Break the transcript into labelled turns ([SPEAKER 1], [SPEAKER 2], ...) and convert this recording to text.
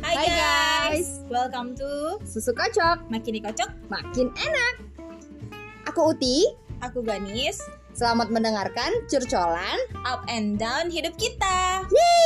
[SPEAKER 1] Hai guys, welcome to
[SPEAKER 2] Susu kocok,
[SPEAKER 1] Makin Dikocok.
[SPEAKER 2] makin enak. Aku Uti,
[SPEAKER 1] Aku Ganis,
[SPEAKER 2] selamat mendengarkan curcolan.
[SPEAKER 1] up and down hidup kita.
[SPEAKER 2] Yeay!